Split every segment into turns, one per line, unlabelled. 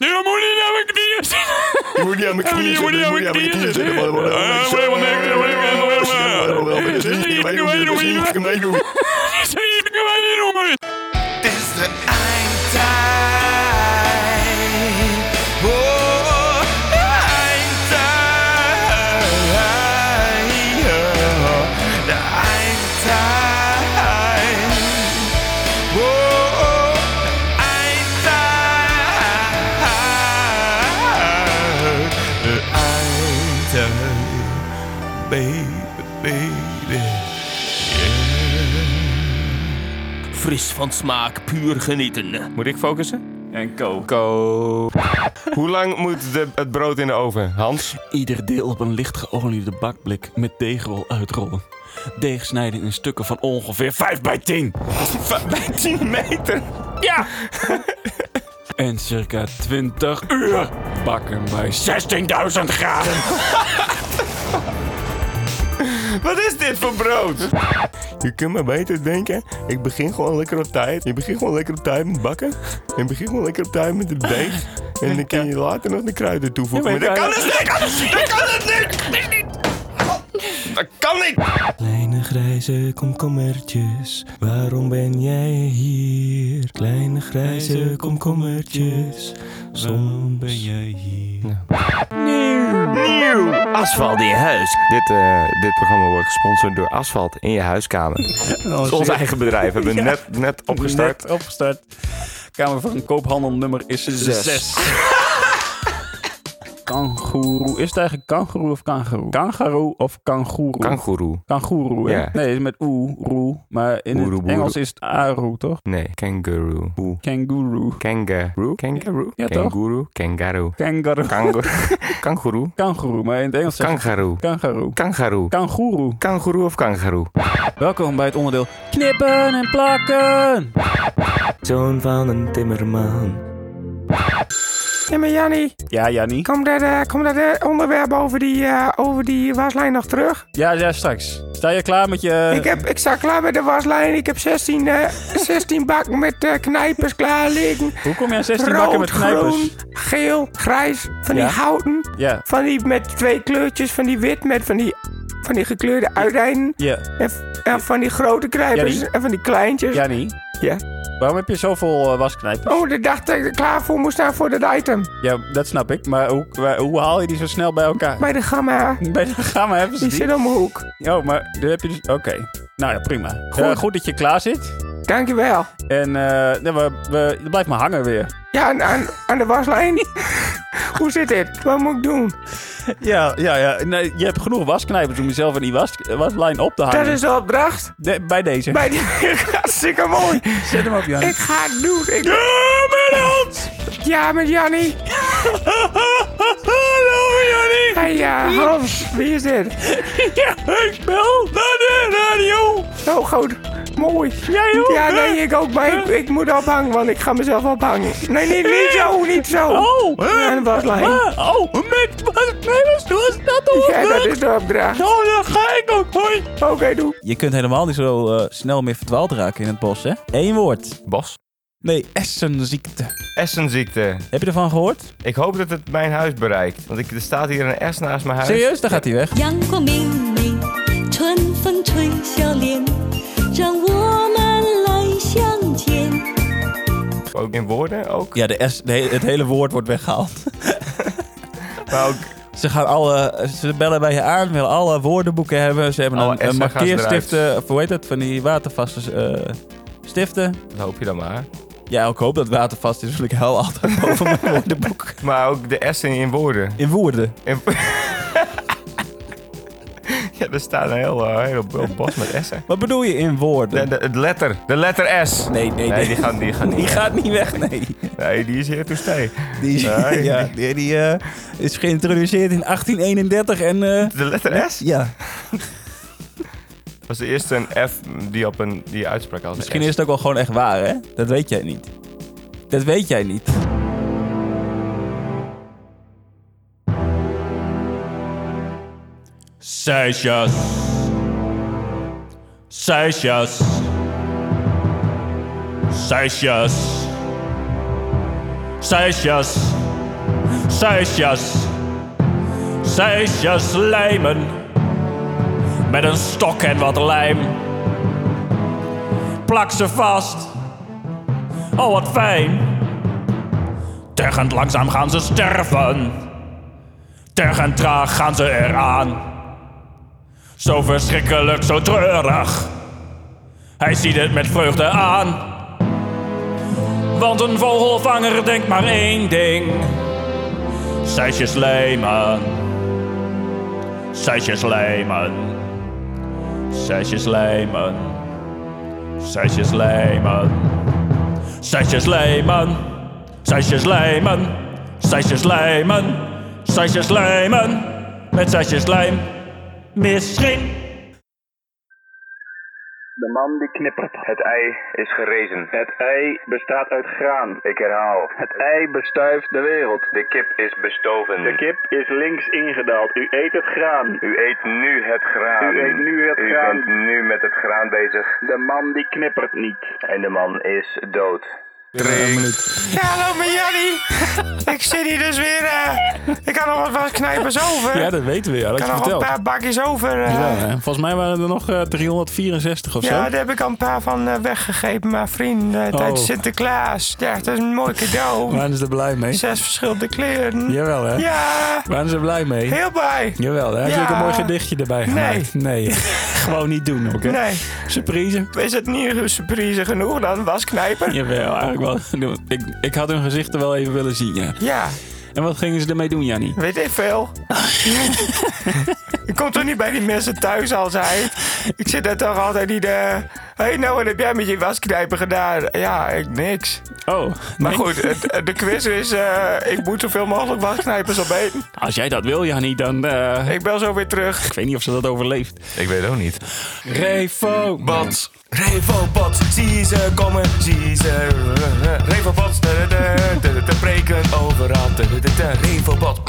Nee, dan moet je niet aan mijn knieën zitten.
Je moet niet aan mijn knieën
Je moet niet
zitten. Ah,
aan mijn knieën zitten.
maar- maar- maar-
Eh, maar- maar- maar- maar- maar- maar- maar- maar-
Dat is niet gemeen doen, dat is niet gemeen doen.
Die zijn hier kunnen wij niet noemen.
Es ist der Eintag. Oh, Eintag. Der Eintag. Oh, Eintag. Der Eintag. Baby, baby.
Fris van smaak, puur genieten.
Moet ik focussen?
En ko.
Ko. Hoe lang moet de, het brood in de oven, Hans?
Ieder deel op een licht geoliede bakblik met deegrol uitrollen. Deeg snijden in stukken van ongeveer 5 bij 10
Bij 10 meter.
en circa 20 uur bakken bij 16.000 graden.
Wat is dit voor brood? Je kunt maar beter denken, ik begin gewoon lekker op tijd. Je begint gewoon lekker op tijd met bakken. En begint gewoon lekker op tijd met de deeg. En dan kan je later nog de kruiden toevoegen.
Ja,
Maar
maar
dat kan
ik-
dus niet! Dat kan het niet! Dat kan niet!
Kleine grijze komkommertjes, waarom ben jij hier? Kleine grijze komkommertjes, waarom ben jij hier?
Nieuw! Asfalt in je huis. Dit, eh, dit programma wordt gesponsord door Asfalt in je huiskamer. Dat is ons eigen bedrijf. We hebben net, net opgestart.
Net opgestart. Kamer van Koophandel nummer is 6. Kangoeroe. Is het eigenlijk kangoeroe of kangoeroe? Kangaroo of kangoeroe?
Kangoeroe.
kangoeroe, hè?
Ja.
Nee, het is met oe, roe. Maar in
Oeroe,
het
boeroe.
Engels is het aroe, toch?
Nee, kangaroo. Hoe?
Kangoeroe.
Kangaroo? Kangaroo?
Ja, toch?
Kangaroo? Kangaroo.
Kangaroo.
Kangaroo. Kangaroo.
Kangoeroe, maar in het Engels is het
Kangaroo.
kangaroo.
Kangaroo.
Kangoeroe.
Kangaroo of kangaroo?
Welkom bij het onderdeel knippen en plakken.
Zoon van een timmerman.
Ja, maar Jannie,
Ja, ja, niet.
kom dat, eh, kom dat eh, onderwerp over die, eh, over die waslijn nog terug?
Ja, ja, straks. Sta je klaar met je...
Ik, heb, ik sta klaar met de waslijn. Ik heb 16, eh, 16 bakken met eh, knijpers klaar liggen.
Hoe kom je aan 16
Rood,
bakken met knijpers?
groen, geel, grijs. Van
Ja.
die houten.
Ja,
Van die met twee kleurtjes. Van die wit met van die, van die gekleurde uiteinden.
ja.
En, en van die grote knijpers.
Jannie?
En van die kleintjes.
Jannie?
Ja?
Waarom heb je zoveel eh, wasknijpers?
Oh, de dacht dat ik er klaar voor moest staan voor dat item.
Ja, dat snap ik. Maar hoe, waar- hoe haal je die zo snel bij elkaar?
Bij de gamma.
Bij de gamma hebben ze
Die
die.
zit om de hoek.
Oh, maar daar heb je dus... Oké. Nou ja, prima. Eh, Goed.
Goed.
dat je klaar zit.
Dankjewel.
En eh nee, we, we, je blijft maar hangen weer.
Ja, aan, aan, aan de waslijn. Hoe zit dit? Wat moet ik doen?
Ja, ja, ja. Nee, je hebt genoeg wasknijpers om jezelf in die was, waslijn op te hangen.
Dat is de opdracht.
De- bij deze.
Bij die hartstikke mooi.
Zet hem op, Jan.
Ik ga het doen. Ik... Ja, met Hans. Ja, met Jannie. Hallo, Jannie. Hey, ja, Hans. Wie is dit? Ja, ik bel naar de radio. Zo goed. Oh, Mooi. Jij ook? Ja, nee, ik ook. Maar ik, ik moet ophangen, want ik ga mezelf ophangen. Nee, niet, niet zo, niet zo.
Oh!
Ja, de waslijn.
Ah, oh, met wasknijpers? Hoe is dat dan?
Ja, dat is de opdracht.
Oh, dan ga ik ook, hoi.
Oké, doe.
Je kunt helemaal niet zo eh, snel meer verdwaald raken in het bos, hè? Eén woord.
Bas?
Nee, essenziekte.
Essenziekte.
Heb je ervan gehoord?
Ik hoop dat het mijn huis bereikt. Want ik, er staat hier een S naast mijn huis.
Serieus, daar gaat hij weg.
阳光明媚，春风吹笑脸，让我们来相见。
Ook in woorden ook.
Ja, de S, de he- het hele woord wordt weggehaald.
Maar ook
Ze, gaan alle, ze bellen bij je aan, willen alle woordenboeken hebben. Ze hebben
Alle
een, een
S'en gaan ze
markeerstiften, of hoe heet dat, van die watervaste eh, stiften.
dat hoop je dan maar.
Ja, ik hoop dat het watervast is, want ik hou altijd boven mijn woordenboek.
Maar ook de S in woorden.
In woorden.
In- ja, er staat een heel, eh, heel, heel bos met S'en.
Wat bedoel je in woorden?
De, de, het letter. De letter S.
Nee, nee,
Nee,
nee.
die gaat, die gaat
Die
niet.
gaat niet weg, nee.
Nee, die is hier to stay.
Die, is-
Nee,
ja, die, die, eh, is geïntroduceerd in 1831 en... eh,
De letter S?
ja,
was de eerste een F die op een die uitspraak als een
misschien
S.
is het ook wel gewoon echt waar, hè? Dat weet jij niet. Dat weet jij niet.
Seisjes. Seisjes. Seisjes. Seisjes.
Zeisjes. Zeisjes lijmen. Met een stok en wat lijm. Plak ze vast. Oh, wat fijn. Tergend langzaam gaan ze sterven. Tergend traag gaan ze eraan. Zo verschrikkelijk, zo treurig. Hij ziet het met vreugde aan. Want een vogelvanger denkt maar één ding. Zijsjes lijmen. Zijsjes lijmen. Zijsjes lijmen. Zijsjes lijmen. Zijsjes lijmen. Zijsjes lijmen. Zijsjes lijmen. Zijsjes lijmen. Met zijsjes lijm. Misschien.
De man die knippert. Het ei is gerezen. Het ei bestaat uit graan. Ik herhaal. Het ei bestuift de wereld. De kip is bestoven. De kip is links ingedaald. U eet het graan. U eet nu het graan. U eet nu het graan. U bent nu met het graan bezig. De man die knippert niet. En de man is dood.
Ja, hallo met Jannie. ik zit hier dus weer. eh, ik had nog wat, wat knijpers over.
Ja, dat weten we ja. Dat
ik
je
had nog een
verteld.
paar bakjes over. eh.
Ja,
ja,
hè. Volgens mij waren er nog eh, 364 of zo.
daar heb ik al een paar van eh, weggegeven. Maar vrienden, eh, tijdens
Oh.
Sinterklaas. Ja, dat is een mooi cadeau.
Waren ze er blij mee?
Zes verschillende kleuren.
Jawel, hè?
Ja,
Waren ze er blij mee?
heel blij.
Jawel, hè? Heb je
Ja.
ook een mooi gedichtje erbij gemaakt? Nee. Gewoon niet doen, oké?
Nee,
Surprise.
is het niet een surprise genoeg dan wasknijper? Ja.
Jawel, eigenlijk wel. Ik, ik had hun gezichten wel even willen zien, ja. En wat gingen ze ermee doen, Jannie?
weet ik veel. ik kom toch niet bij die mensen thuis als hij. Ik zit daar toch altijd niet... Hé, hey, nou, wat heb jij met je wasknijper gedaan? Ja, ik niks.
Oh,
Maar
nee.
goed, het- het- de quiz is... eh, ik moet zoveel mogelijk wasknijpers opeten.
Als jij dat wil, Jannie, dan... eh,
Ik bel zo weer terug.
Ik weet niet of ze dat overleeft.
Ik weet ook niet.
Refo.
Bats.
Revobots, zie ze komen, zie ze. Revobots, te, te, te, te breken overal. Te, te, te, Revobot.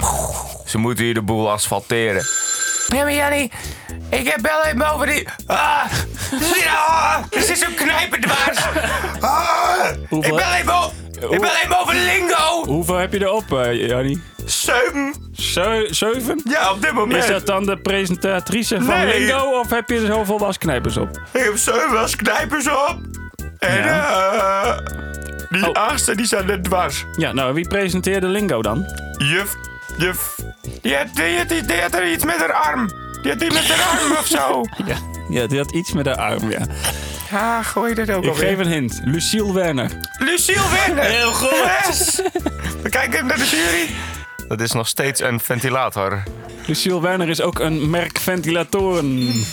Ze moeten hier de boel asfalteren.
Ja, maar Jannie, ik heb wel even over die... Ah, zie je, ah, er zit zo'n knijper dwars. Ah, ik
Hoeveel-
bel even op. Ik bel even over lingo.
Hoeveel heb je erop, eh Jannie?
Zeven.
Zeu- zeven?
Ja, op dit moment.
Is dat dan de presentatrice van
Nee.
Lingo of heb je er zoveel wasknijpers op?
Ik heb zeven wasknijpers op. En eh, die
Oh.
achtste, die staat net dwars.
Ja, nou, wie presenteerde Lingo dan?
Juf, juf. Die had, die, had- die, die had er iets met haar arm. Die had iets met haar arm of zo.
Ja, ja die had iets met haar arm, ja.
Ja, gooi dat ook
Ik
alweer.
geef een hint. Lucille Werner.
Lucille Werner. Heel goed. Yes. We kijken even naar de jury.
Dat is nog steeds een ventilator.
Lucille Werner is ook een merk ventilatoren.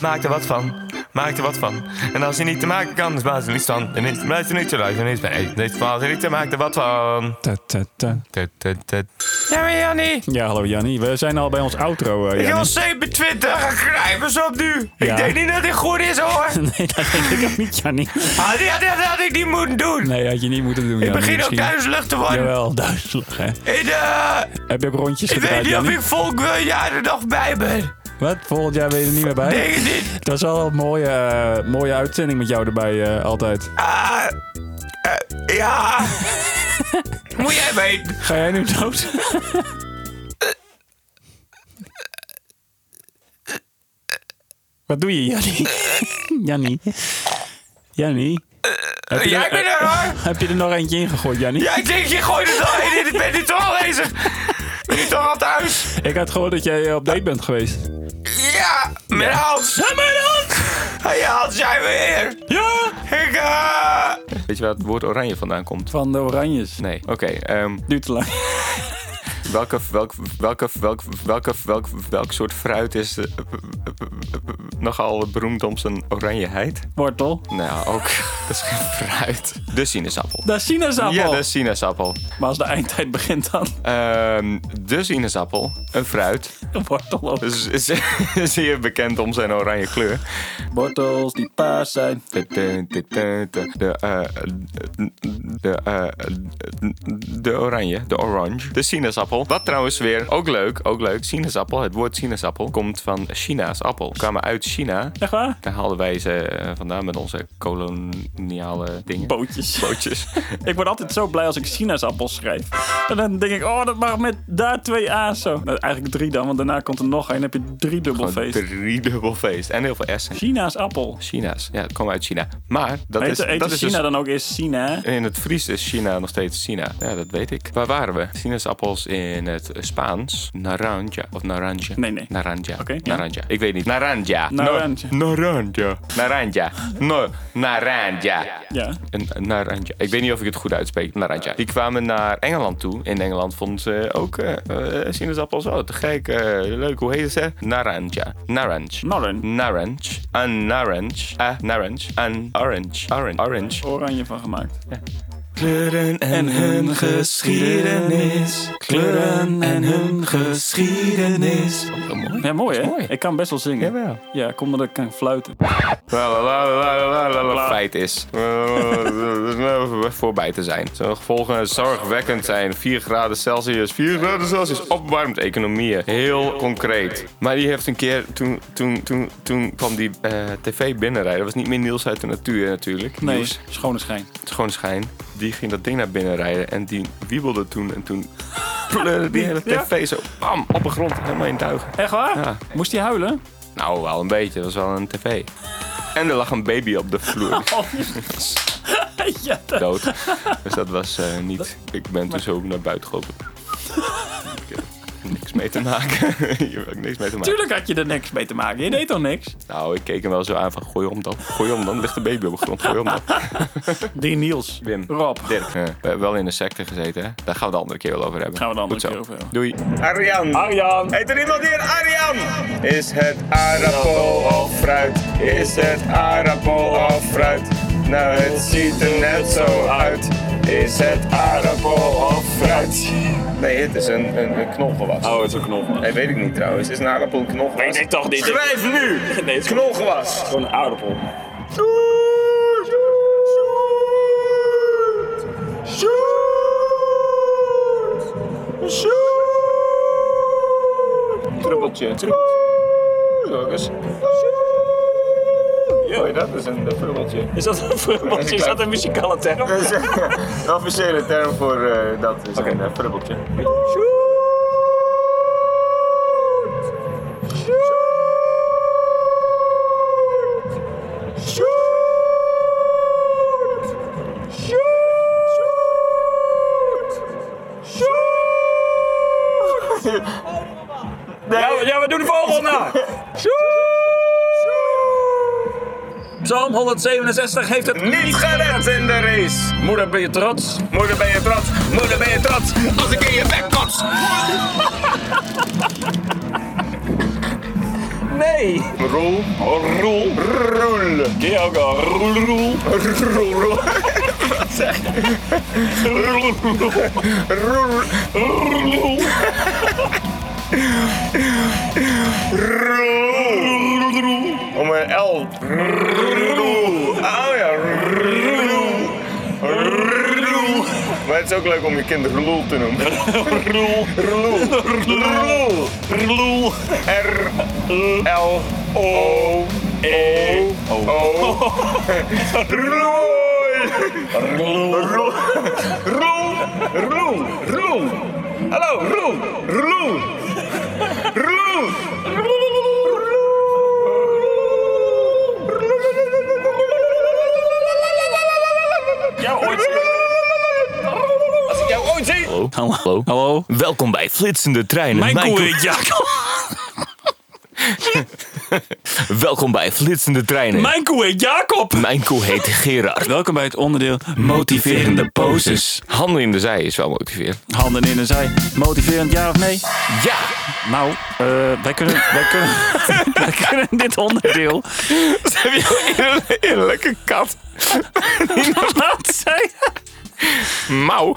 Maak er wat van. Maak er wat van. En als je niet te maken kan, is maak er niets van. En is blijft er niet te luisteren. En is nee, nee, maak er niet te maken, er wat van.
Ta, ta, ta.
Tut, tut, tut.
Ja, maar Jannie.
Ja, hallo Jannie. We zijn al bij ons outro, eh
Ik wil
Jannie.
27 knijpers op nu.
Ja.
Ik denk niet dat dit goed is hoor.
Nee, dat denk ik ook niet, Jannie.
Ah, die had, dat had ik niet moeten doen.
Nee, had je niet moeten doen,
ik
Jannie.
begin ook
Misschien-
duizelig te worden.
Jawel, duizelig, hè.
Ik, eh,
Heb je ook rondjes
ik weet
gedraaid,
niet of
Jannie?
ik volgend jaar er nog bij ben.
Wat? Volgend jaar ben je er niet meer bij?
Denk het niet.
Dat is wel een mooie, eh, mooie uitzending met jou erbij eh, altijd.
Ah, eh, ja. Moet jij weten.
Ga jij nu dood? Wat doe je, Jannie? Jannie? Jannie? Heb je,
Jij
er,
bent er hoor.
heb je er nog eentje ingegooid, Jannie?
Ja, ik denk, je gooit het al in. Ik ben niet toch al bezig. Ben je toch al thuis?
Ik had gehoord dat jij eh, op date bent geweest.
Ja, mijn Hans. Ja, mijn Hans. Hey Hans, jij weer.
Ja!
Ik, eh...
Weet je waar het woord oranje vandaan komt?
Van de Oranjes.
Nee. Oké, ehm,
Duurt te lang.
welke, welk, welke, welk, welke, welk, welk soort fruit is eh, eh, eh, eh, nogal beroemd om zijn oranjeheid?
Wortel.
Nou, ook. Dat is geen fruit. De sinaasappel.
Dat is sinaasappel.
Ja, de sinaasappel.
Maar als de eindtijd begint dan
Ehm, de sinaasappel, een fruit,
een wortel
Dus-
op.
is, is, is zeer bekend om zijn oranje kleur.
Wortels die paars zijn.
De, de, de, de, de, de, eh, de, eh, de oranje, de orange, de sinaasappel. Wat trouwens weer, ook leuk, ook leuk, sinaasappel, het woord sinaasappel, komt van China's appel. Kwamen uit China,
Echt waar?
daar haalden wij ze eh, vandaan met onze koloniale dingen.
Bootjes.
Bootjes.
Ik word altijd zo blij als ik sinaasappels schrijf. En dan denk ik, oh, dat mag met daar twee A's zo. Nou, eigenlijk drie dan, want daarna komt er nog één. Dan heb je drie dubbel
Gewoon
feest.
drie dubbel feest. En heel veel S'en.
China's appel.
China's. Ja, het komt uit China. Maar dat
Heet-
is...
heet
dat
de
is
China
dus-
dan ook eerst China?
In het Fries is China nog steeds China. Ja, dat weet ik. Waar waren we? Sinaasappels in het Spaans. Naranja. Of naranja. Nee, nee. Naranja. Oké. naranja. Ik weet niet. Naranja.
Naranja.
No- naranja. Naranja. No. Naranja.
Ja.
Een een naranja. Ik weet niet of ik het goed uitspreek. Naranja. Die kwamen naar Engeland toe. In Engeland vonden ze ook eh eh, sinaasappels. Oh, te gek. eh, leuk. Hoe heet ze? Naranja. Naranj.
Naranj.
Naranj. Een naranj. Een naranj. Een orange. Orange. Orange.
Oranje van gemaakt.
Ja.
Kleuren en hun geschiedenis. Kleuren en hun geschiedenis.
Ja, mooi hè? Ik kan best wel zingen. Ja, kom dat ik kan fluiten.
La, la, la, la, la, la, la, la. Feit is. Eh, Voorbij te zijn. Zijn gevolgen zorgwekkend zijn. 4 graden Celsius. 4 graden Celsius. Opwarmt economieën. Heel concreet. Maar die heeft een keer. Toen, toen, toen, toen kwam die eh, tv binnenrijden. Dat was niet meer Niels uit de natuur natuurlijk.
Nee,
Niels.
schone schijn.
Schone schijn. Die ging dat ding naar binnen rijden. En die wiebelde toen. En toen. pleurde die hele
Ja?
tv zo. Bam! Op de grond. Helemaal in duigen.
Echt waar?
Ja.
Moest hij huilen?
Nou, wel een beetje. Dat was wel een tv. En er lag een baby op de vloer.
ja, dat...
dood. Dus dat was eh, niet. Ik ben toen zo naar buiten gelopen. Ik heb niks mee te maken. Hier heb ik niks mee te maken.
Tuurlijk had je er niks mee te maken. Je deed toch niks?
Nou, ik keek hem wel zo aan van gooi om dan. Gooi om dan, ligt de baby op de grond. Gooi om dan.
Die Niels.
Wim.
Rob.
Dirk. Eh, we hebben wel in de secte gezeten, hè? Daar gaan we de andere keer wel over hebben.
Gaan we de andere
Goed zo.
keer over hebben.
Doei. Arjan.
Arjan.
Heet er iemand hier Arjan? Is het aardappel of fruit? Is het aardappel of fruit? Nou, het ziet er net zo uit. Is het aardappel of fruit? Nee, het is een, een, een knolgewas. Oh, het is een knolgewas. Nee, weet ik niet trouwens. Is een aardappel een knolgewas?
Weet ik toch niet.
Schrijf nu!
Nee, het is
knolgewas.
Gewoon een aardappel.
Trubbeltje. Trubbeltje. Ja, dus. dat is een frubbeltje.
Is dat een frubbeltje? Is dat een muzikale term?
De officiële term voor eh, dat is een eh, frubbeltje.
Ja, ja, we doen de volgende! Psalm 167 heeft het niet
gered in de race.
Moeder, ben je trots?
Moeder, ben je trots? Moeder, ben je trots? Als ik in je bek kots.
Nee!
Roel.
oh,
Roel. Roel.
Ken je ook al? Roel, roel.
Roel, roel.
Wat zeg je? Roel, roel.
Roel,
roel.
Om een L. Roel. Oh ja. Roel. Roel. Maar het is ook leuk om je kind Roel te noemen.
Roel.
Roel. Roel.
Roel.
R. L. O. E. O.
Roel.
Roel. Roel. Roel. Roel. Hallo, Roel. Roel. Roel.
Jou ooit Als ik jou ooit zie...
Hallo. Hallo. Hallo. Welkom bij Flitsende Treinen.
Mijn koe heet
Welkom bij Flitsende Treinen.
Mijn koe heet Jacob.
Mijn koe heet Gerard.
Welkom bij het onderdeel Motiverende Poses.
Handen in de zij is wel motiverend.
Handen in de zij. Motiverend, ja of nee?
Ja!
Nou, eh, wij, kunnen, wij, kunnen, wij kunnen dit onderdeel...
Ze hebben jou een eerlijke kat.
Wat zei
Mouw.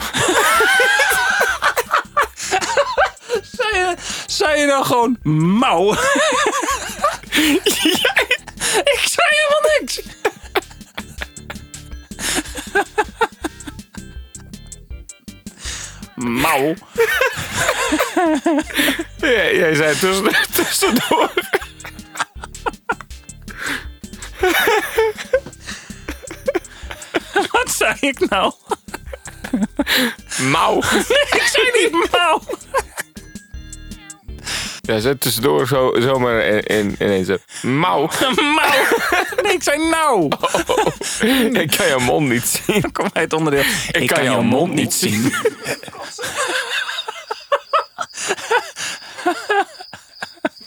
Zei je, zei je nou gewoon mouw? Jij- ik zei helemaal niks. Mouw.
Ja, jij zei tussen, tussendoor.
Wat zei ik nou?
Mouw. ik zei niet mouw. Ja, zet tussendoor zo, zomaar in, in, ineens zo. Mouw. Mouw.
Nee, ik zei nou.
Ik kan je mond niet zien.
Kom uit het onderdeel.
Ik, kan, je mond, niet zien.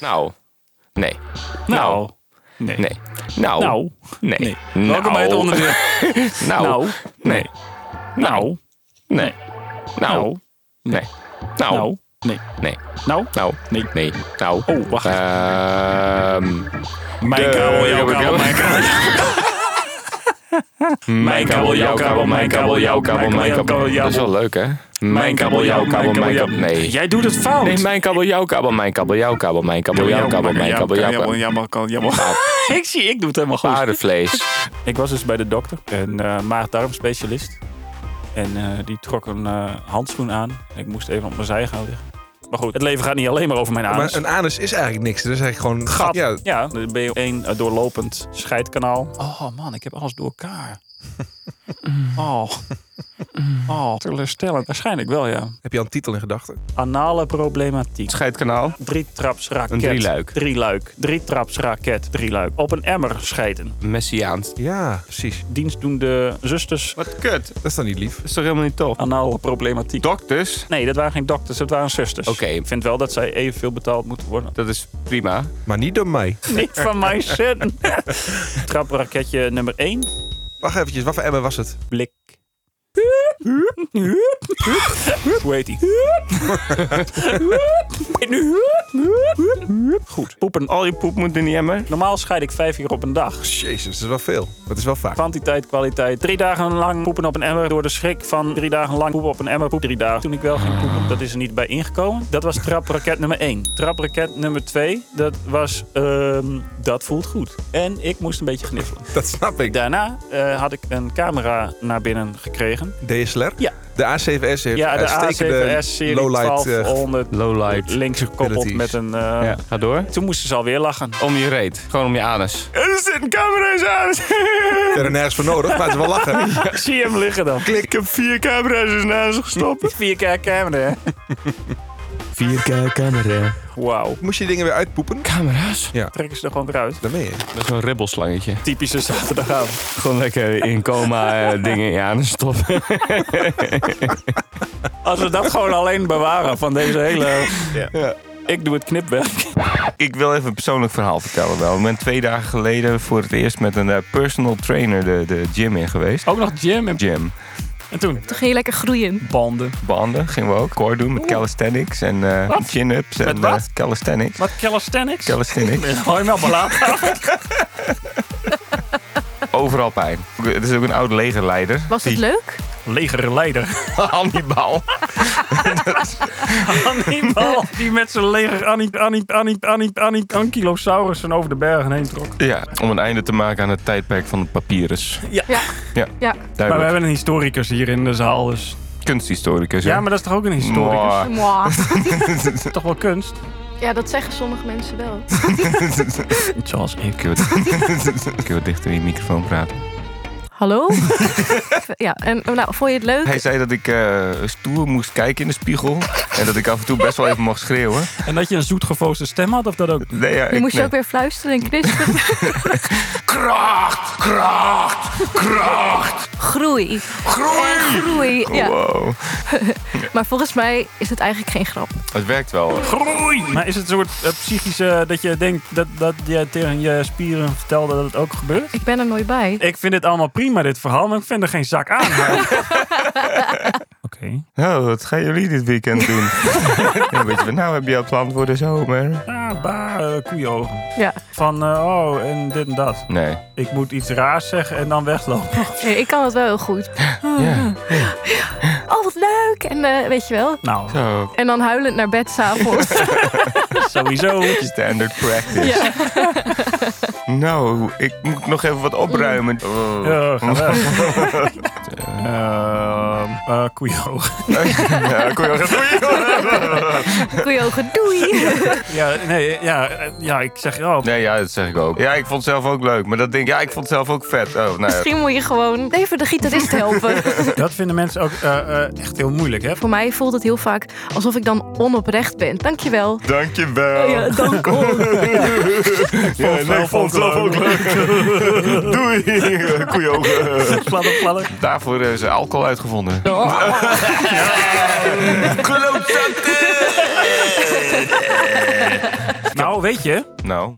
nou. Nee. Nou.
Nee.
Nou.
Nou.
Nee.
Nee.
Nou.
Welkom bij het onderdeel.
nou.
Nou.
Nee.
Nou.
Nee. Nou. Nee. Nou.
Nou. Nee.
Nee.
Nou.
Nou. Nee. Nee. Nou.
Oh, wacht.
Ehm.
Mijn
de-
kabel, jouw kabel, mijn kabel.
Mijn kabel, jouw kabel, mijn kabel, jouw kabel, mijn kabel. Dat is wel leuk, hè? Mijn kabel, jouw kabel, mijn kabel. Nee.
Jij doet het fout.
Nee, mijn kabel, jouw kabel, mijn kabel, jouw kabel, mijn kabel, jouw kabel, mijn kabel, jouw kabel. Ah,
Jammer, kan, jammer. ik zie, ik doe het helemaal goed.
Paardenvlees.
Ik was dus bij de dokter, een eh maag-darmspecialist. En eh, die trok een eh, handschoen aan. Ik moest even op mijn zij gaan liggen. Maar goed, het leven gaat niet alleen maar over mijn anus.
Maar een anus is eigenlijk niks. Dat is eigenlijk gewoon een gat. Ja,
Ja. ja, dan ben je één eh, doorlopend scheidkanaal. Oh man, ik heb alles door elkaar. oh. Oh, teleurstellend. Waarschijnlijk wel, ja.
heb je al een titel in gedachten?
Anale problematiek.
Scheidkanaal.
Drie traps raket.
Een drieluik.
Drie luik. Drie traps raket. Drie luik. Op een emmer scheiden.
Messiaans.
Ja, precies.
Dienstdoende zusters.
Wat kut.
Dat is dan niet lief. Dat
is toch helemaal niet tof?
Anale problematiek.
Dokters?
Nee, dat waren geen dokters, dat waren zusters.
Oké.
Ik vind wel dat zij evenveel betaald moeten worden.
Dat is prima.
Maar niet door mij.
Niet van mijn zin. Trapraketje nummer 1.
Wacht eventjes, wat voor emmer was het?
Blik. Hoe heet die? Goed. Poepen.
Al je poep moet in die emmer.
Normaal scheid ik vijf keer op een dag.
Jezus, dat is wel veel. Dat is wel vaak.
Kwantiteit, kwaliteit. Drie dagen lang poepen op een emmer. Door de schrik van drie dagen lang poepen op een emmer. Poep drie dagen. Toen ik wel ging poepen, dat is er niet bij ingekomen. Dat was trapraket nummer één. Trapraket nummer twee, dat was... ehm, dat voelt goed. En ik moest een beetje gniffelen.
Dat snap ik.
Daarna eh, had ik een camera naar binnen gekregen.
DSLR?
Ja.
De A7S
E
heeft
Ja, de
uitstekende
A7S-serie
lowlight, eh,
1200.
Lowlight.
Links gekoppeld
abilities.
met een... eh,
Ja, ga door.
Toen moesten ze alweer lachen.
Om je reet. Gewoon om je anus.
Er zit een camera in zijn huis.
Ik heb er nergens voor nodig, maar het is wel lachen.
Zie hem liggen dan.
Klik.
Ik heb vier camera's in zijn huis gestopt.
4K camera, hè?
4K camera.
Wauw.
Moest je die dingen weer uitpoepen?
Camera's?
Ja.
Trekken ze er gewoon weer uit.
Daar ben je.
Dat is zo'n ribbelslangetje.
Typische zaterdagavond.
Gewoon lekker in coma eh, dingen in je anus stoppen.
Als we dat gewoon alleen bewaren van deze hele...
Ja.
Ik doe het knipwerk.
Ik wil even een persoonlijk verhaal vertellen wel. Ik ben twee dagen geleden voor het eerst met een eh, personal trainer de, de gym in geweest.
Ook nog gym? En...
Gym.
En toen?
Toen ging je lekker groeien.
Banden.
Banden gingen we ook. Core doen met calisthenics en eh,
Wat?
chin-ups.
Met
en
wat?
eh, calisthenics.
Wat, calisthenics?
Calisthenics.
Hou je me op laat.
Overal pijn. Het is ook een oud legerleider.
Was het
Die-
leuk?
Legerleider.
Hannibal.
Hannibal, die met zijn leger Annie, Annie, Annie, Annie, Annie, Ankylosaurussen over de bergen heen trok.
Ja, om een einde te maken aan het tijdperk van de papyrus.
Ja. ja.
Ja,
Ja.
Maar we
duidelijk.
hebben een historicus hier in de zaal, dus...
Kunsthistoricus. hè?
Ja, maar dat is toch ook een
Mwah.
historicus?
Mwah.
Toch wel kunst?
Ja, dat zeggen sommige mensen wel.
Zoals ik.
Kun je wat- kun je wat dichter in je microfoon praten?
Hallo? ja, en eh, nou, vond je het leuk?
Hij zei dat ik eh, stoer moest kijken in de spiegel. En dat ik af en toe best wel even mocht schreeuwen.
En dat je een zoetgevoosde stem had, of dat ook?
Nee, ja,
Je
ik,
moest je
nee.
ook weer fluisteren en knispen.
Kracht, kracht, kracht.
Groei.
Groei.
Groei, ja.
Wow.
Maar volgens mij is het eigenlijk geen grap.
Het werkt wel.
Groei! Maar is het een soort eh, psychische dat je denkt dat, dat je tegen je spieren vertelde dat het ook gebeurt?
Ik ben er nooit bij.
Ik vind dit allemaal prima, dit verhaal, maar ik vind er geen zak aan.
Nou, wat gaan jullie dit weekend doen? ja, weet je, wat, nou heb je al plan voor de zomer.
Ah, bah, eh, koeienogen.
Ja.
Van, eh, oh, en dit en dat.
Nee.
Ik moet iets raars zeggen en dan weglopen.
Nee, ik kan het wel heel goed. Oh, wat leuk! En eh, weet je wel.
Nou,
Zo.
En dan huilend naar bed s'avonds.
sowieso.
Standard practice.
ja.
Nou,
Mm.
ik moet nog even wat opruimen. Oh.
Ja, ga weg. Eh, Eh koeioog.
Ja, koeioog.
Koeiogen, doei.
Ja, nee, ja, eh, ja, ik zeg ja.
Nee, ja, dat zeg ik ook. Ja, ik vond het zelf ook leuk. Maar dat denk ik, ja, ik vond het zelf ook vet. Oh, nou ja.
Misschien moet je gewoon even de gitarist helpen.
Dat vinden mensen ook eh, eh, echt heel moeilijk, hè?
Voor mij voelt het heel vaak alsof ik dan onoprecht ben. Dankjewel.
Dankjewel.
Oh Ja, dank oh.
Ja, nee, ik vond het zelf ook leuk. Doei. Koeiogen.
Pladder, pladder.
Daarvoor is alcohol uitgevonden.
Nou, weet je.
Nou.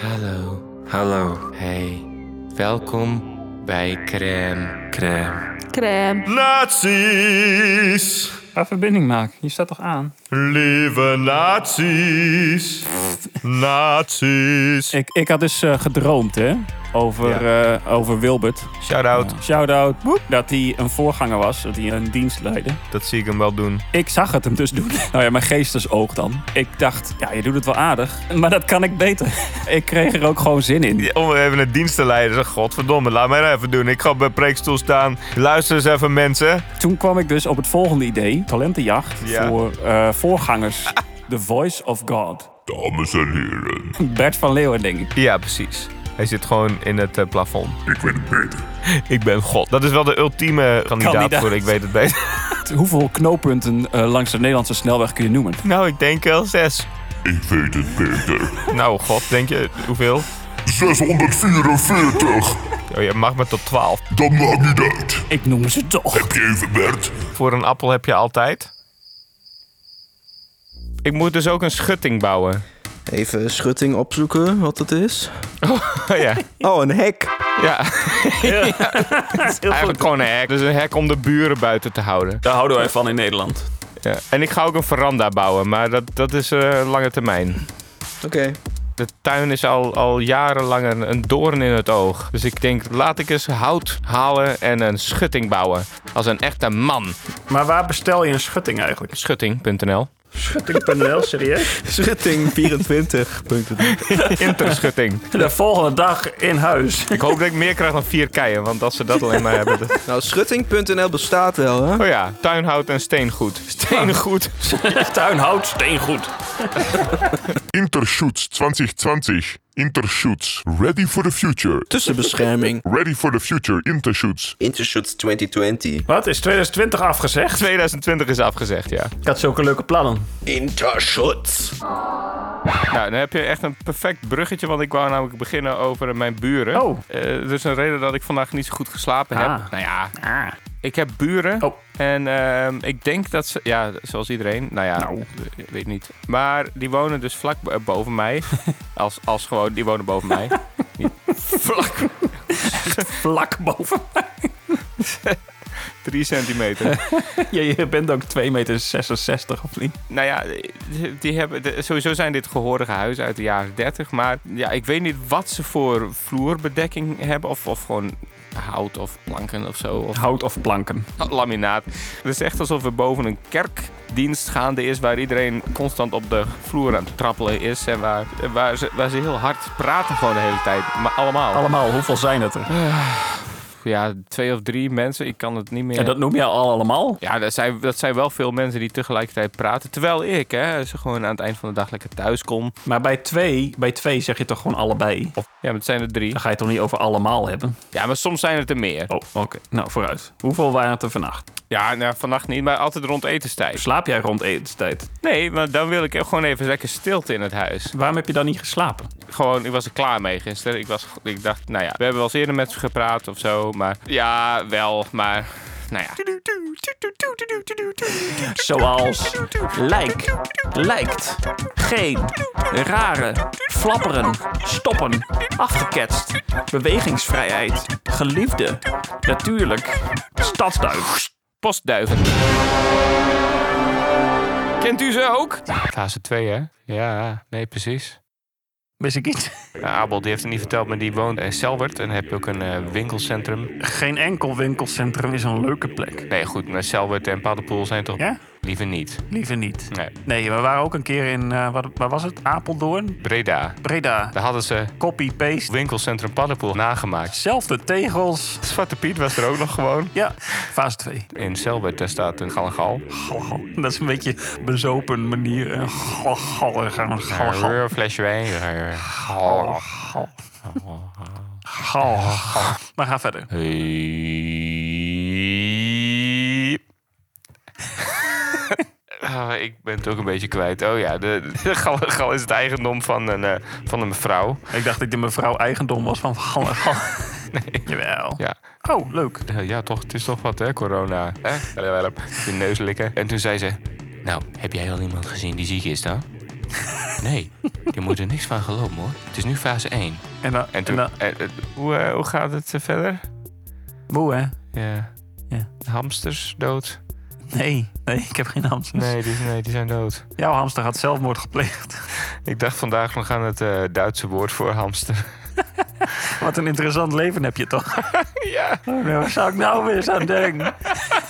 Hallo. Hallo. Hey. Welkom bij Crème. Crème.
Crème.
Nazi's.
Ga verbinding maken. Je staat toch aan?
Lieve nazi's. Nazi's.
Ik, ik had dus eh, gedroomd, hè? Over, eh, over Wilbert.
Shout-out.
shout-out. Dat hij een voorganger was. Dat hij een dienst leidde.
Dat zie ik hem wel doen.
Ik zag het hem dus doen. Nou ja, mijn geestesoog dan. Ik dacht, ja, je doet het wel aardig. Maar dat kan ik beter. Ik kreeg er ook gewoon zin in.
Om even een dienst te leiden. Zeg, godverdomme, laat mij dat even doen. Ik ga bij preekstoel staan. Luister eens even, mensen.
Toen kwam ik dus op het volgende idee. Talentenjacht
Ja.
voor eh, voorgangers. The Voice of God.
Dames en heren.
Bert van Leeuwen, denk ik.
Ja, precies. Hij zit gewoon in het eh, plafond. Ik weet het beter. Ik ben God. Dat is wel de ultieme kandidaat,
Kandidaat.
voor ik weet het beter.
Hoeveel knooppunten eh, langs de Nederlandse snelweg kun je noemen?
Nou, ik denk wel zes.
Ik weet het beter.
Nou, god, denk je hoeveel?
644.
Oh, je mag maar tot 12.
Dat maakt niet uit.
Ik noem ze toch.
Heb je even Bert?
Voor een appel heb je altijd. Ik moet dus ook een schutting bouwen.
Even schutting opzoeken wat het is.
Oh, ja.
Oh, een hek.
Ja. Eigenlijk gewoon een hek. Dus een hek om de buren buiten te houden.
Daar houden wij van in Nederland.
Ja. En ik ga ook een veranda bouwen, maar dat, dat is eh, lange termijn.
Oké.
De tuin is al, al jarenlang een, een doorn in het oog. Dus ik denk, laat ik eens hout halen en een schutting bouwen. Als een echte man.
Maar waar bestel je een schutting eigenlijk?
Schutting.nl
Schutting.nl, serieus?
Schutting24.
Interschutting.
De volgende dag in huis.
Ik hoop dat ik meer krijg dan vier keien, want als ze dat alleen maar hebben... dat-
Nou, schutting.nl bestaat wel, hè?
Oh ja, tuinhout en steengoed. Steengoed.
Tuinhout, steengoed.
Intershoots 2020. Intershoots. Ready for the future.
Tussenbescherming.
Ready for the future. Intershoots.
Intershoots 2020.
Wat, is 2020 afgezegd?
2020 is afgezegd, ja.
Ik had zulke leuke plannen.
Intershoots.
Nou, dan heb je echt een perfect bruggetje, want ik wou namelijk beginnen over mijn buren.
Oh.
Eh, er is een reden dat ik vandaag niet zo goed geslapen heb.
Ah.
Nou ja, ik heb buren. En ehm, ik denk dat ze, ja, zoals iedereen, nou ja, ik weet niet. Maar die wonen dus vlak bo- boven mij. als, als gewoon, die wonen boven mij. Niet vlak.
Vlak boven.
Drie centimeter.
Ja, je bent ook 2,66 meter of niet?
Nou ja, die- die hebben, de- sowieso zijn dit gehorige huizen uit de jaren 30. Maar ja, ik weet niet wat ze voor vloerbedekking hebben. Of, of gewoon hout of planken of zo. Of
Hout of planken.
laminaat. Het is echt alsof we boven een kerkdienst gaande is... waar iedereen constant op de vloer aan het trappelen is. En waar, en waar, ze, waar ze heel hard praten gewoon de hele tijd. Maar allemaal.
Allemaal, hoeveel zijn het er?
Ja, twee of drie mensen. Ik kan het niet meer...
En dat noem je al allemaal?
Ja, dat zijn, dat zijn wel veel mensen die tegelijkertijd praten. Terwijl ik, hè, als je gewoon aan het eind van de dag lekker thuis kom.
Maar bij twee, bij twee zeg je toch gewoon allebei? Of
Ja, maar het zijn er drie.
dan ga je het toch niet over allemaal hebben?
Ja, maar soms zijn het er meer.
Oh, oké. Nou, vooruit. Hoeveel waren het er vannacht?
Ja, nou, vannacht niet, maar altijd rond etenstijd.
Slaap jij rond etenstijd?
Nee, maar dan wil ik gewoon even lekker stilte in het huis.
Waarom heb je dan niet geslapen?
Gewoon, ik was er klaar mee gisteren. Ik, was, ik dacht, nou ja, we hebben wel eens eerder met ze gepraat of zo. Maar ja, wel, maar nou ja.
Zoals lijk, lijkt, geen, rare, flapperen, stoppen, afgeketst, bewegingsvrijheid, geliefde, natuurlijk, stadsduif.
Postduiven. Kent u ze ook? Fase 2, hè? Ja, nee, precies.
Wist ik niet.
Abel, die heeft het niet verteld, maar die woont in Selwert. En heb je ook een eh, winkelcentrum.
Geen enkel winkelcentrum is een leuke plek.
Nee, goed, maar Selwert en Paddenpoel zijn toch...
Ja?
Liever niet.
Liever niet.
Nee.
Nee, we waren ook een keer in, eh, wat, waar was het? Apeldoorn?
Breda.
Breda.
Daar hadden ze
copy-paste
winkelcentrum Paddenpoel nagemaakt.
Zelfde tegels.
Zwarte Piet was er ook nog gewoon.
Ja, fase 2.
In Selbert, daar staat een galgal.
Dat is een beetje bezopen manier. eh, gal- gal- gal- gal- gal-
Een flesje wijn.
Gal. Gal. Gal. Maar ga verder.
Ah, ik ben het ook een beetje kwijt. Oh ja, de, de gal, gal is het eigendom van een, eh, van een mevrouw.
Ik dacht dat de mevrouw eigendom was van gal. gal. Jawel.
Ja.
Oh, leuk.
Eh, Ja, toch, het is toch wat, hè, corona. Hè? Je neus likken. En toen zei ze... Nou, heb jij al iemand gezien die ziek is dan? Nee, je moet er niks van geloven, hoor. Het is nu fase 1.
En, dan,
toen... en, eh, hoe, eh, hoe gaat het eh, verder?
Moe, hè?
Ja. Hamsters dood?
Nee, nee, ik heb geen hamsters.
Nee die, nee, die zijn dood.
Jouw hamster had zelfmoord gepleegd.
Ik dacht vandaag nog aan het eh, Duitse woord voor hamster.
Wat een interessant leven heb je toch?
ja.
waar zou ik nou weer eens aan denken?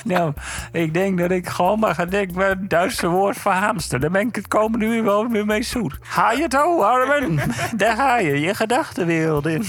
nou, ik denk dat ik gewoon maar ga denken bij het Duitse woord voor hamster. Daar ben ik het komende uur wel weer mee zoet. Ga je het toe, Armen? Daar ga je, je gedachtenwereld in.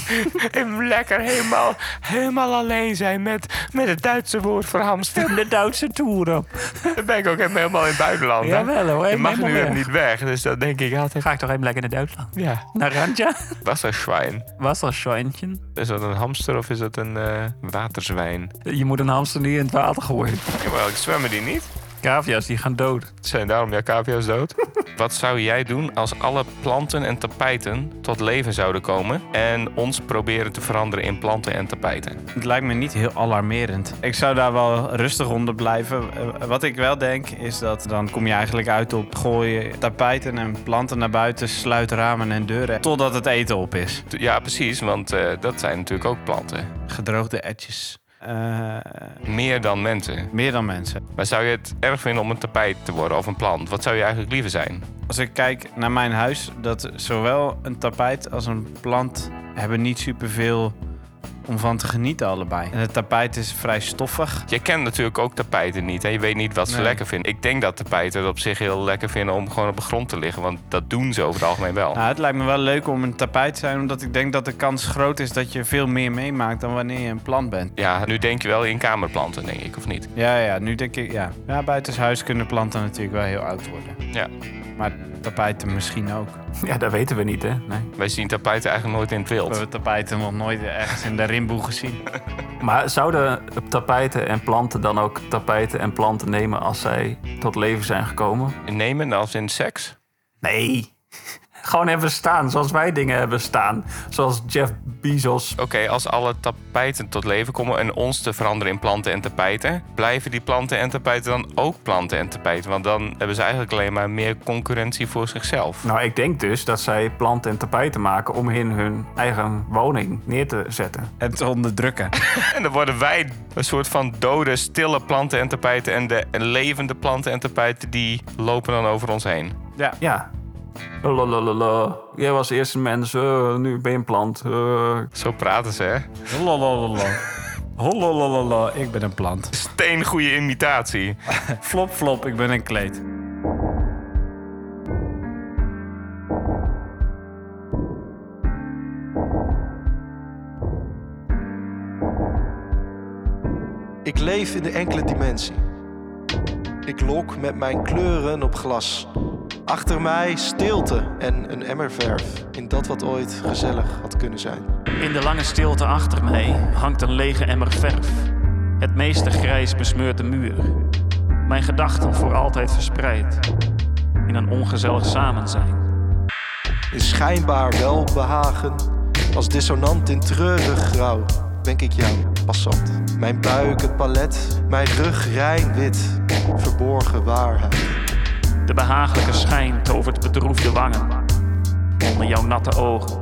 En lekker helemaal, helemaal alleen zijn met, met het Duitse woord voor hamster.
De Duitse toer op.
Dan ben ik ook helemaal in het buitenland. hè?
Jawel, hoor,
Je mag
helemaal
nu
weg.
niet weg, dus dan denk ik altijd...
Ga ik toch even lekker naar Duitsland?
Ja.
Naar Randja?
Wasserschwein.
Wasserschweintje.
Is dat een hamster of is dat een eh, waterzwijn?
Je moet een hamster niet in het water gooien.
Jawel, ik zwemmen die niet.
Cavia's, die gaan dood.
Zijn daarom jouw cavia's dood? Wat zou jij doen als alle planten en tapijten tot leven zouden komen... en ons proberen te veranderen in planten en tapijten?
Het lijkt me niet heel alarmerend. Ik zou daar wel rustig onder blijven. Eh, Wat ik wel denk is dat dan kom je eigenlijk uit op gooien tapijten en planten naar buiten, sluit ramen en deuren totdat het eten op is.
Ja, precies, want eh, dat zijn natuurlijk ook planten.
Gedroogde etjes.
Meer dan mensen.
Meer dan mensen.
Maar zou je het erg vinden om een tapijt te worden of een plant? Wat zou je eigenlijk liever zijn?
Als ik kijk naar mijn huis, dat zowel een tapijt als een plant hebben niet superveel om van te genieten allebei. En het tapijt is vrij stoffig.
Je kent natuurlijk ook tapijten niet en je weet niet wat ze
Nee.
lekker vinden. Ik denk dat tapijten het op zich heel lekker vinden om gewoon op de grond te liggen. Want dat doen ze over het algemeen wel.
Nou, het lijkt me wel leuk om een tapijt te zijn, omdat ik denk dat de kans groot is dat je veel meer meemaakt dan wanneer je een plant bent.
Ja, nu denk je wel in kamerplanten, denk ik, of niet?
Ja, ja, nu denk ik, ja. Ja, buitenshuis kunnen planten natuurlijk wel heel oud worden.
Ja.
Maar tapijten misschien ook.
Ja, dat weten we niet, hè? Nee.
Wij zien tapijten eigenlijk nooit in het
We
wild.
hebben tapijten nog nooit ergens in de rimboe gezien.
Maar zouden tapijten en planten dan ook tapijten en planten nemen als zij tot leven zijn gekomen?
Nemen als in seks?
Nee. Gewoon even staan, zoals wij dingen hebben staan. Zoals Jeff Bezos.
Oké, als alle tapijten tot leven komen en ons te veranderen in planten en tapijten, blijven die planten en tapijten dan ook planten en tapijten? Want dan hebben ze eigenlijk alleen maar meer concurrentie voor zichzelf.
Nou, ik denk dus dat zij planten en tapijten maken om in hun eigen woning neer te zetten.
En te onderdrukken.
En dan worden wij een soort van dode, stille planten en tapijten. En de levende planten en tapijten die lopen dan over ons heen.
Ja.
Ja. Lalalala. Jij was eerst een mens, eh, nu ben je een plant. Eh,
Zo praten ze, hè?
Lalalala. Hololololo, ik ben een plant.
Steen goede imitatie.
flop, flop, ik ben een kleed.
Ik leef in de enkele dimensie. Ik lok met mijn kleuren op glas. Achter mij stilte en een emmerverf in dat wat ooit gezellig had kunnen zijn.
In de lange stilte achter mij hangt een lege emmer verf. Het meeste grijs besmeurt de muur. Mijn gedachten voor altijd verspreid. In een ongezellig samen zijn.
In schijnbaar welbehagen, als dissonant in treurig grauw, denk ik jou, passant. Mijn buik het palet, mijn rug rein wit, verborgen waarheid.
De behagelijke schijn tovert bedroefde wangen. Onder jouw natte ogen.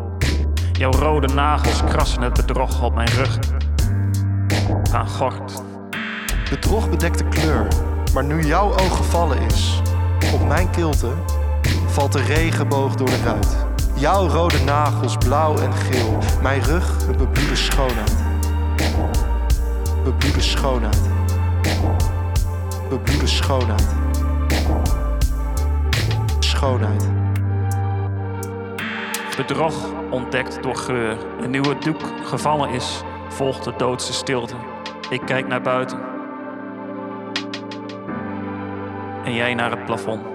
Jouw rode nagels krassen het bedrog op mijn rug. Aan gort.
Bedrog bedekte kleur, maar nu jouw oog gevallen is, op mijn kilte valt de regenboog door de ruit. Jouw rode nagels blauw en geel, mijn rug een bebloede schoonheid. Bebloede schoonheid. Bebloede schoonheid. schoonheid.
Bedrog ontdekt door geur. En nu het doek gevallen is, volgt de doodse stilte. Ik kijk naar buiten. En jij naar het plafond.